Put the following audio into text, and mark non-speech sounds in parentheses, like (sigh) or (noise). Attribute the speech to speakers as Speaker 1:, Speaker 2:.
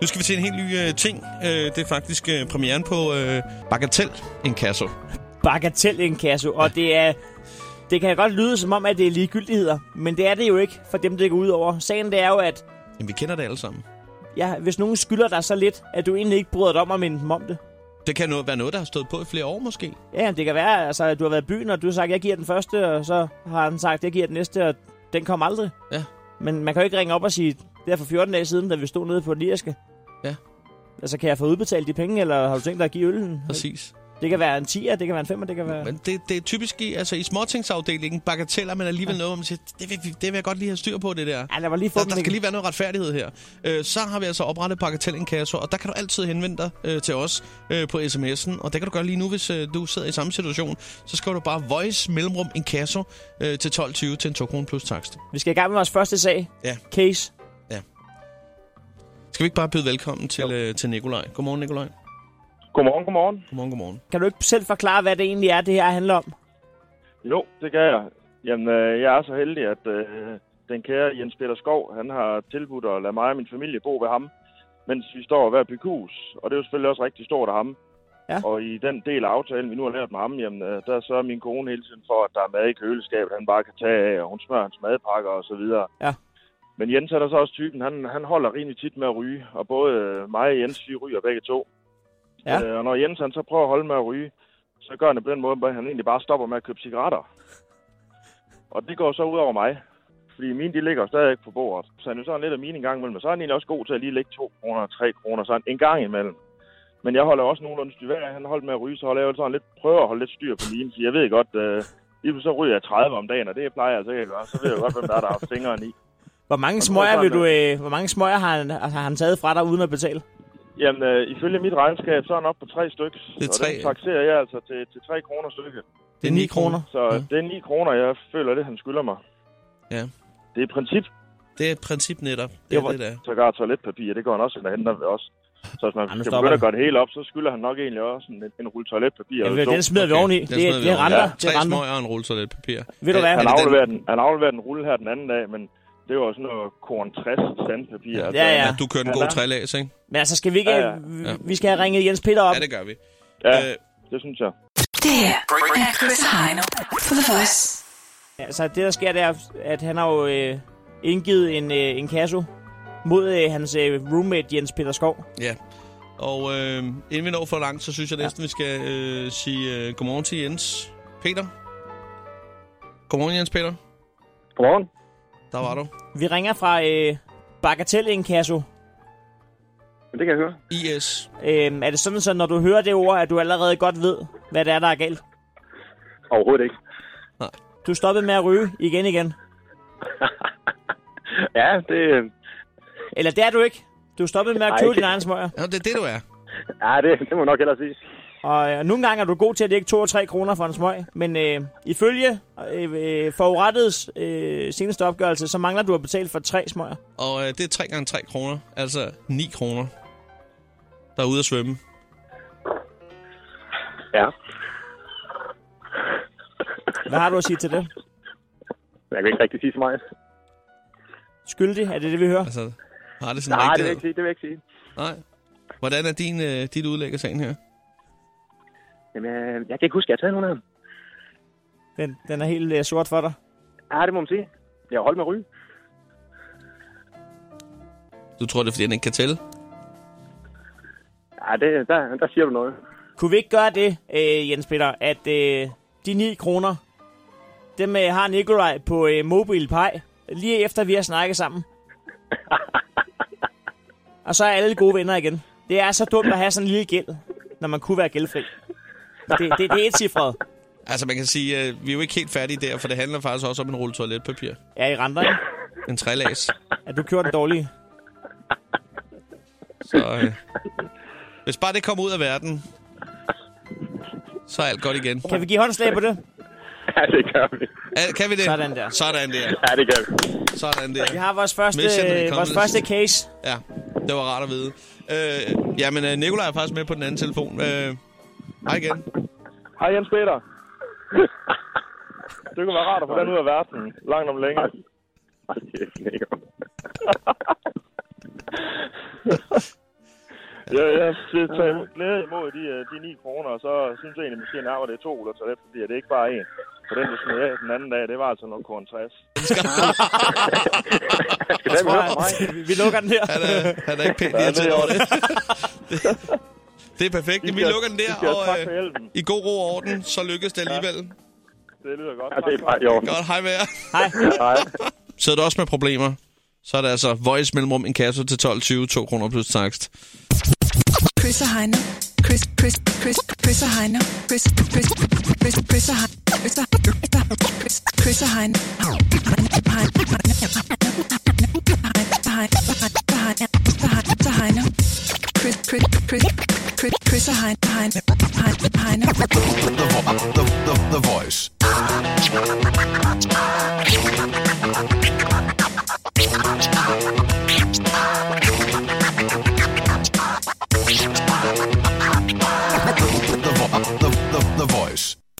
Speaker 1: Nu skal vi til en helt ny øh, ting. Øh, det er faktisk øh, premieren på øh, Bagatell Inkasso.
Speaker 2: Bagatellinkasso, og det er... Det kan godt lyde som om, at det er ligegyldigheder, men det er det jo ikke for dem, det går ud over. Sagen det er jo, at
Speaker 1: Jamen, vi kender det alle sammen.
Speaker 2: ja, hvis nogen skylder dig så lidt, at du egentlig ikke bryder dig om at minde dem om det.
Speaker 1: Det kan noget, være noget, der har stået på i flere år måske.
Speaker 2: Ja, det kan være, altså, at du har været i byen, og du har sagt, jeg giver den første, og så har han sagt, jeg giver den næste, og den kom aldrig.
Speaker 1: Ja.
Speaker 2: Men man kan jo ikke ringe op og sige, det er for 14 dage siden, da vi stod nede på den irske.
Speaker 1: Ja.
Speaker 2: Altså, kan jeg få udbetalt de penge, eller har du tænkt dig at give øllen?
Speaker 1: Præcis.
Speaker 2: Det kan være en 10'er, det kan være en 5'er, det kan være...
Speaker 1: Men det, det er typisk i, altså, i småtingsafdelingen, bagateller, men alligevel noget, hvor man siger, det vil, vi- det vil jeg godt lige have styr på, det der.
Speaker 2: Ja, lad mig lige få
Speaker 1: Der,
Speaker 2: dem
Speaker 1: der skal
Speaker 2: igen.
Speaker 1: lige være noget retfærdighed her. Øh, så har vi altså oprettet Bagatellinkasso, og der kan du altid henvende dig øh, til os øh, på sms'en. Og det kan du gøre lige nu, hvis øh, du sidder i samme situation. Så skal du bare voice mellemrum inkasso øh, til 12.20 til en 2 kroner plus takst.
Speaker 2: Vi skal i gang med vores første sag.
Speaker 1: Ja.
Speaker 2: Case.
Speaker 1: Skal vi ikke bare byde velkommen til, øh, til Nikolaj? Godmorgen, Nikolaj.
Speaker 3: Godmorgen, godmorgen.
Speaker 1: Godmorgen, godmorgen.
Speaker 2: Kan du ikke selv forklare, hvad det egentlig er, det her handler om?
Speaker 3: Jo, det kan jeg. Jamen, øh, jeg er så heldig, at øh, den kære Jens Peter Skov, han har tilbudt at lade mig og min familie bo ved ham, mens vi står hver byghus. Og det er jo selvfølgelig også rigtig stort af ham.
Speaker 2: Ja.
Speaker 3: Og i den del af aftalen, vi nu har lavet med ham, jamen, øh, der sørger min kone hele tiden for, at der er mad i køleskabet, han bare kan tage af, og hun smører hans madpakker og så videre.
Speaker 2: Ja.
Speaker 3: Men Jens er der så også typen, han, han holder rimelig tit med at ryge, og både øh, mig og Jens, vi ryger begge to.
Speaker 2: Ja.
Speaker 3: Øh, og når Jens han så prøver at holde med at ryge, så gør han det på den måde, at han egentlig bare stopper med at købe cigaretter. Og det går så ud over mig, fordi mine de ligger stadig på bordet. Så han er jo sådan lidt af mine en gang imellem, men så er han egentlig også god til at lige lægge 2 kroner og 3 kroner sådan en gang imellem. Men jeg holder også nogenlunde styr. Hver gang han holdt med at ryge, så holder jeg jo sådan lidt, prøver at holde lidt styr på mine, for jeg ved godt, øh, lige pludselig så ryger jeg 30 om dagen, og det plejer jeg altså ikke at gøre. Så ved jeg godt, hvem der er, der har haft fingeren i.
Speaker 2: Hvor mange
Speaker 3: Hvor
Speaker 2: smøger,
Speaker 3: meget
Speaker 2: vil
Speaker 3: var
Speaker 2: du, øh, hvor mange smøger har, han, altså, har han taget fra dig uden at betale?
Speaker 3: Jamen, øh, ifølge mit regnskab, så er han oppe på tre stykker.
Speaker 1: Det er
Speaker 3: og
Speaker 1: tre.
Speaker 3: den takserer jeg altså til, til 3 kroner stykket.
Speaker 1: Det er 9 kroner.
Speaker 3: Så
Speaker 1: Ja.
Speaker 3: det er 9 kroner, jeg føler det, han skylder mig.
Speaker 1: Ja.
Speaker 3: Det er i princip
Speaker 1: Det er et princip netop. Det
Speaker 3: Det
Speaker 1: er
Speaker 3: var-
Speaker 1: det, der.
Speaker 3: sågar toiletpapir, det går han også ind og henter ved os. Så hvis man
Speaker 2: Ej,
Speaker 3: Ej,
Speaker 2: nu
Speaker 3: skal
Speaker 2: stopper
Speaker 3: begynde at
Speaker 2: det.
Speaker 3: gøre det hele op, så skylder han nok egentlig også en, en rulle toiletpapir.
Speaker 2: Ja,
Speaker 3: eller to.
Speaker 2: den smider vi oveni. Det, det, det renter. Ja, det
Speaker 1: Tre
Speaker 2: renter.
Speaker 1: smøger og en rulle toiletpapir.
Speaker 2: Ved du
Speaker 1: Ja,
Speaker 2: hvad?
Speaker 3: han,
Speaker 1: det den-
Speaker 3: afleverer den, han afleverer den rulle her den anden dag, men det var jo sådan noget korn 60 sandpapir. Ja,
Speaker 2: Ja, ja.
Speaker 1: Ja. Du kører en
Speaker 3: Ja,
Speaker 1: god
Speaker 3: der-
Speaker 1: trælæs, ikke?
Speaker 2: Men altså, skal vi ikke...
Speaker 3: Ja, ja.
Speaker 2: vi- Vi skal have ringet Jens Peter op.
Speaker 1: Ja, det gør vi.
Speaker 3: ja
Speaker 1: Øh,
Speaker 3: det synes jeg.
Speaker 4: Det her er Chris Heino for The Voice.
Speaker 2: Altså, det der sker, det er, at han har jo øh, indgivet en, øh, en kasso mod øh, hans øh, roommate Jens Peter Skov.
Speaker 1: Ja. Og øh, inden vi når for langt, så synes jeg næsten, ja. vi skal øh, sige øh, godmorgen til Jens Peter. Godmorgen, Jens Peter.
Speaker 3: Godmorgen.
Speaker 1: Der var du.
Speaker 2: Vi ringer fra øh, Bagatell Inkasso.
Speaker 3: Det kan jeg høre.
Speaker 1: IS.
Speaker 2: Øh, er det sådan, så når du hører det ord, at du allerede godt ved, hvad det er, der er galt?
Speaker 3: Overhovedet ikke.
Speaker 2: Du stoppede med at ryge igen igen.
Speaker 3: Ja, det,
Speaker 2: Eller det er du ikke. Du stoppede med at
Speaker 3: Nej,
Speaker 2: købe
Speaker 3: det-
Speaker 2: din egen smøger.
Speaker 1: Ja, det er det, du er.
Speaker 3: ja, det, det må nok hellere sige.
Speaker 2: Og øh, nogle gange er du god til at lægge 2 og 3 kroner for en smøg. Men øh, ifølge øh, øh, forurettets øh, seneste opgørelse, så mangler du at betale for tre smøger.
Speaker 1: Og øh, det er 3 gange 3 kroner. Altså 9 kroner. Der er ude at svømme.
Speaker 3: Ja.
Speaker 2: Hvad har du at sige til det?
Speaker 3: Jeg kan ikke rigtig sige så meget.
Speaker 2: Skyldig, er det det, vi hører?
Speaker 1: Altså, har det sådan rigtigt?
Speaker 3: sige. Det vil jeg ikke sige.
Speaker 1: Nej. Hvordan er din, øh, dit udlæg af sagen her?
Speaker 3: Jamen, øh, jeg kan ikke huske, at jeg har taget nogen af dem.
Speaker 2: Den, den er helt øh, sort for dig.
Speaker 3: Ja, det må man sige. Jeg har holdt med ryge.
Speaker 1: Du tror, det er, fordi han ikke kan tælle?
Speaker 3: Ja, det, der, der siger du noget. (laughs)
Speaker 2: Kunne vi ikke gøre det, øh, Jens Peter, at øh, de 9 kroner, dem øh, har Nikolaj på øh, Mobil Pej, lige efter vi har snakket sammen. Og så er alle gode venner igen. Det er så dumt at have sådan en lille gæld, når man kunne være gældfri. Det, det, det er et cifret.
Speaker 1: Altså, man kan sige, øh, vi er jo ikke helt færdige der, for det handler faktisk også om en rulle toiletpapir.
Speaker 2: Ja, i renter, ikke?
Speaker 1: En trælæs.
Speaker 2: At du gjorde det dårlige.
Speaker 1: Så øh, hvis bare det kommer ud af verden, så er alt godt igen.
Speaker 2: Kan vi give håndslag på det?
Speaker 3: Ja, det gør vi.
Speaker 1: Al- kan vi det?
Speaker 2: Sådan der.
Speaker 1: Sådan der.
Speaker 3: Ja, det gør vi.
Speaker 1: Sådan
Speaker 2: Vi
Speaker 1: der.
Speaker 2: har vores første,
Speaker 1: Mission
Speaker 2: øh, vores
Speaker 1: Accomplished.
Speaker 2: første case.
Speaker 1: Ja, det var rart at vide. Øh, jamen, øh, Nikolaj er faktisk med på den anden telefon. Øh, hej
Speaker 2: (laughs)
Speaker 1: igen.
Speaker 3: Hej Jens Peter. (laughs) det kunne være rart at få den ud af verden. Langt om længe. (laughs) Ja, ja, det tager glæde imod de, øh, de 9 kroner, og så synes jeg egentlig måske nærmere, det er to eller så lidt, fordi det er ikke bare en. For den, du smed af den anden dag, det var altså nogle korn 60.
Speaker 2: Jeg tror, jeg, vi, vi lukker den her.
Speaker 1: Han er, han er ikke pænt
Speaker 3: Ja,
Speaker 1: irriteret
Speaker 3: det er
Speaker 1: over det. (laughs) det. Det er perfekt. Vi
Speaker 3: skal-
Speaker 1: lukker den
Speaker 3: vi
Speaker 1: der,
Speaker 3: skal-
Speaker 1: og
Speaker 3: tak for
Speaker 1: øh,
Speaker 3: hjælpen.
Speaker 1: i god ro og orden, så lykkes det alligevel.
Speaker 3: Det lyder godt.
Speaker 5: Ja, det er bare i orden.
Speaker 1: Godt, hej med jer.
Speaker 2: Hej.
Speaker 5: Nej,
Speaker 1: (laughs) Sidder du også med problemer, så er det altså voice mellemrum en kasse til 12,20, 2 kroner plus takst.
Speaker 4: Chris og Heino. Chris, Chris, Chris, Chris og Heino. Chris, Chris, Chris, Chris og Heino. Chris, Chris, Chris og Heino. Chris, Chris, Chris, Chris, Chris og Heino. Heino. Heino.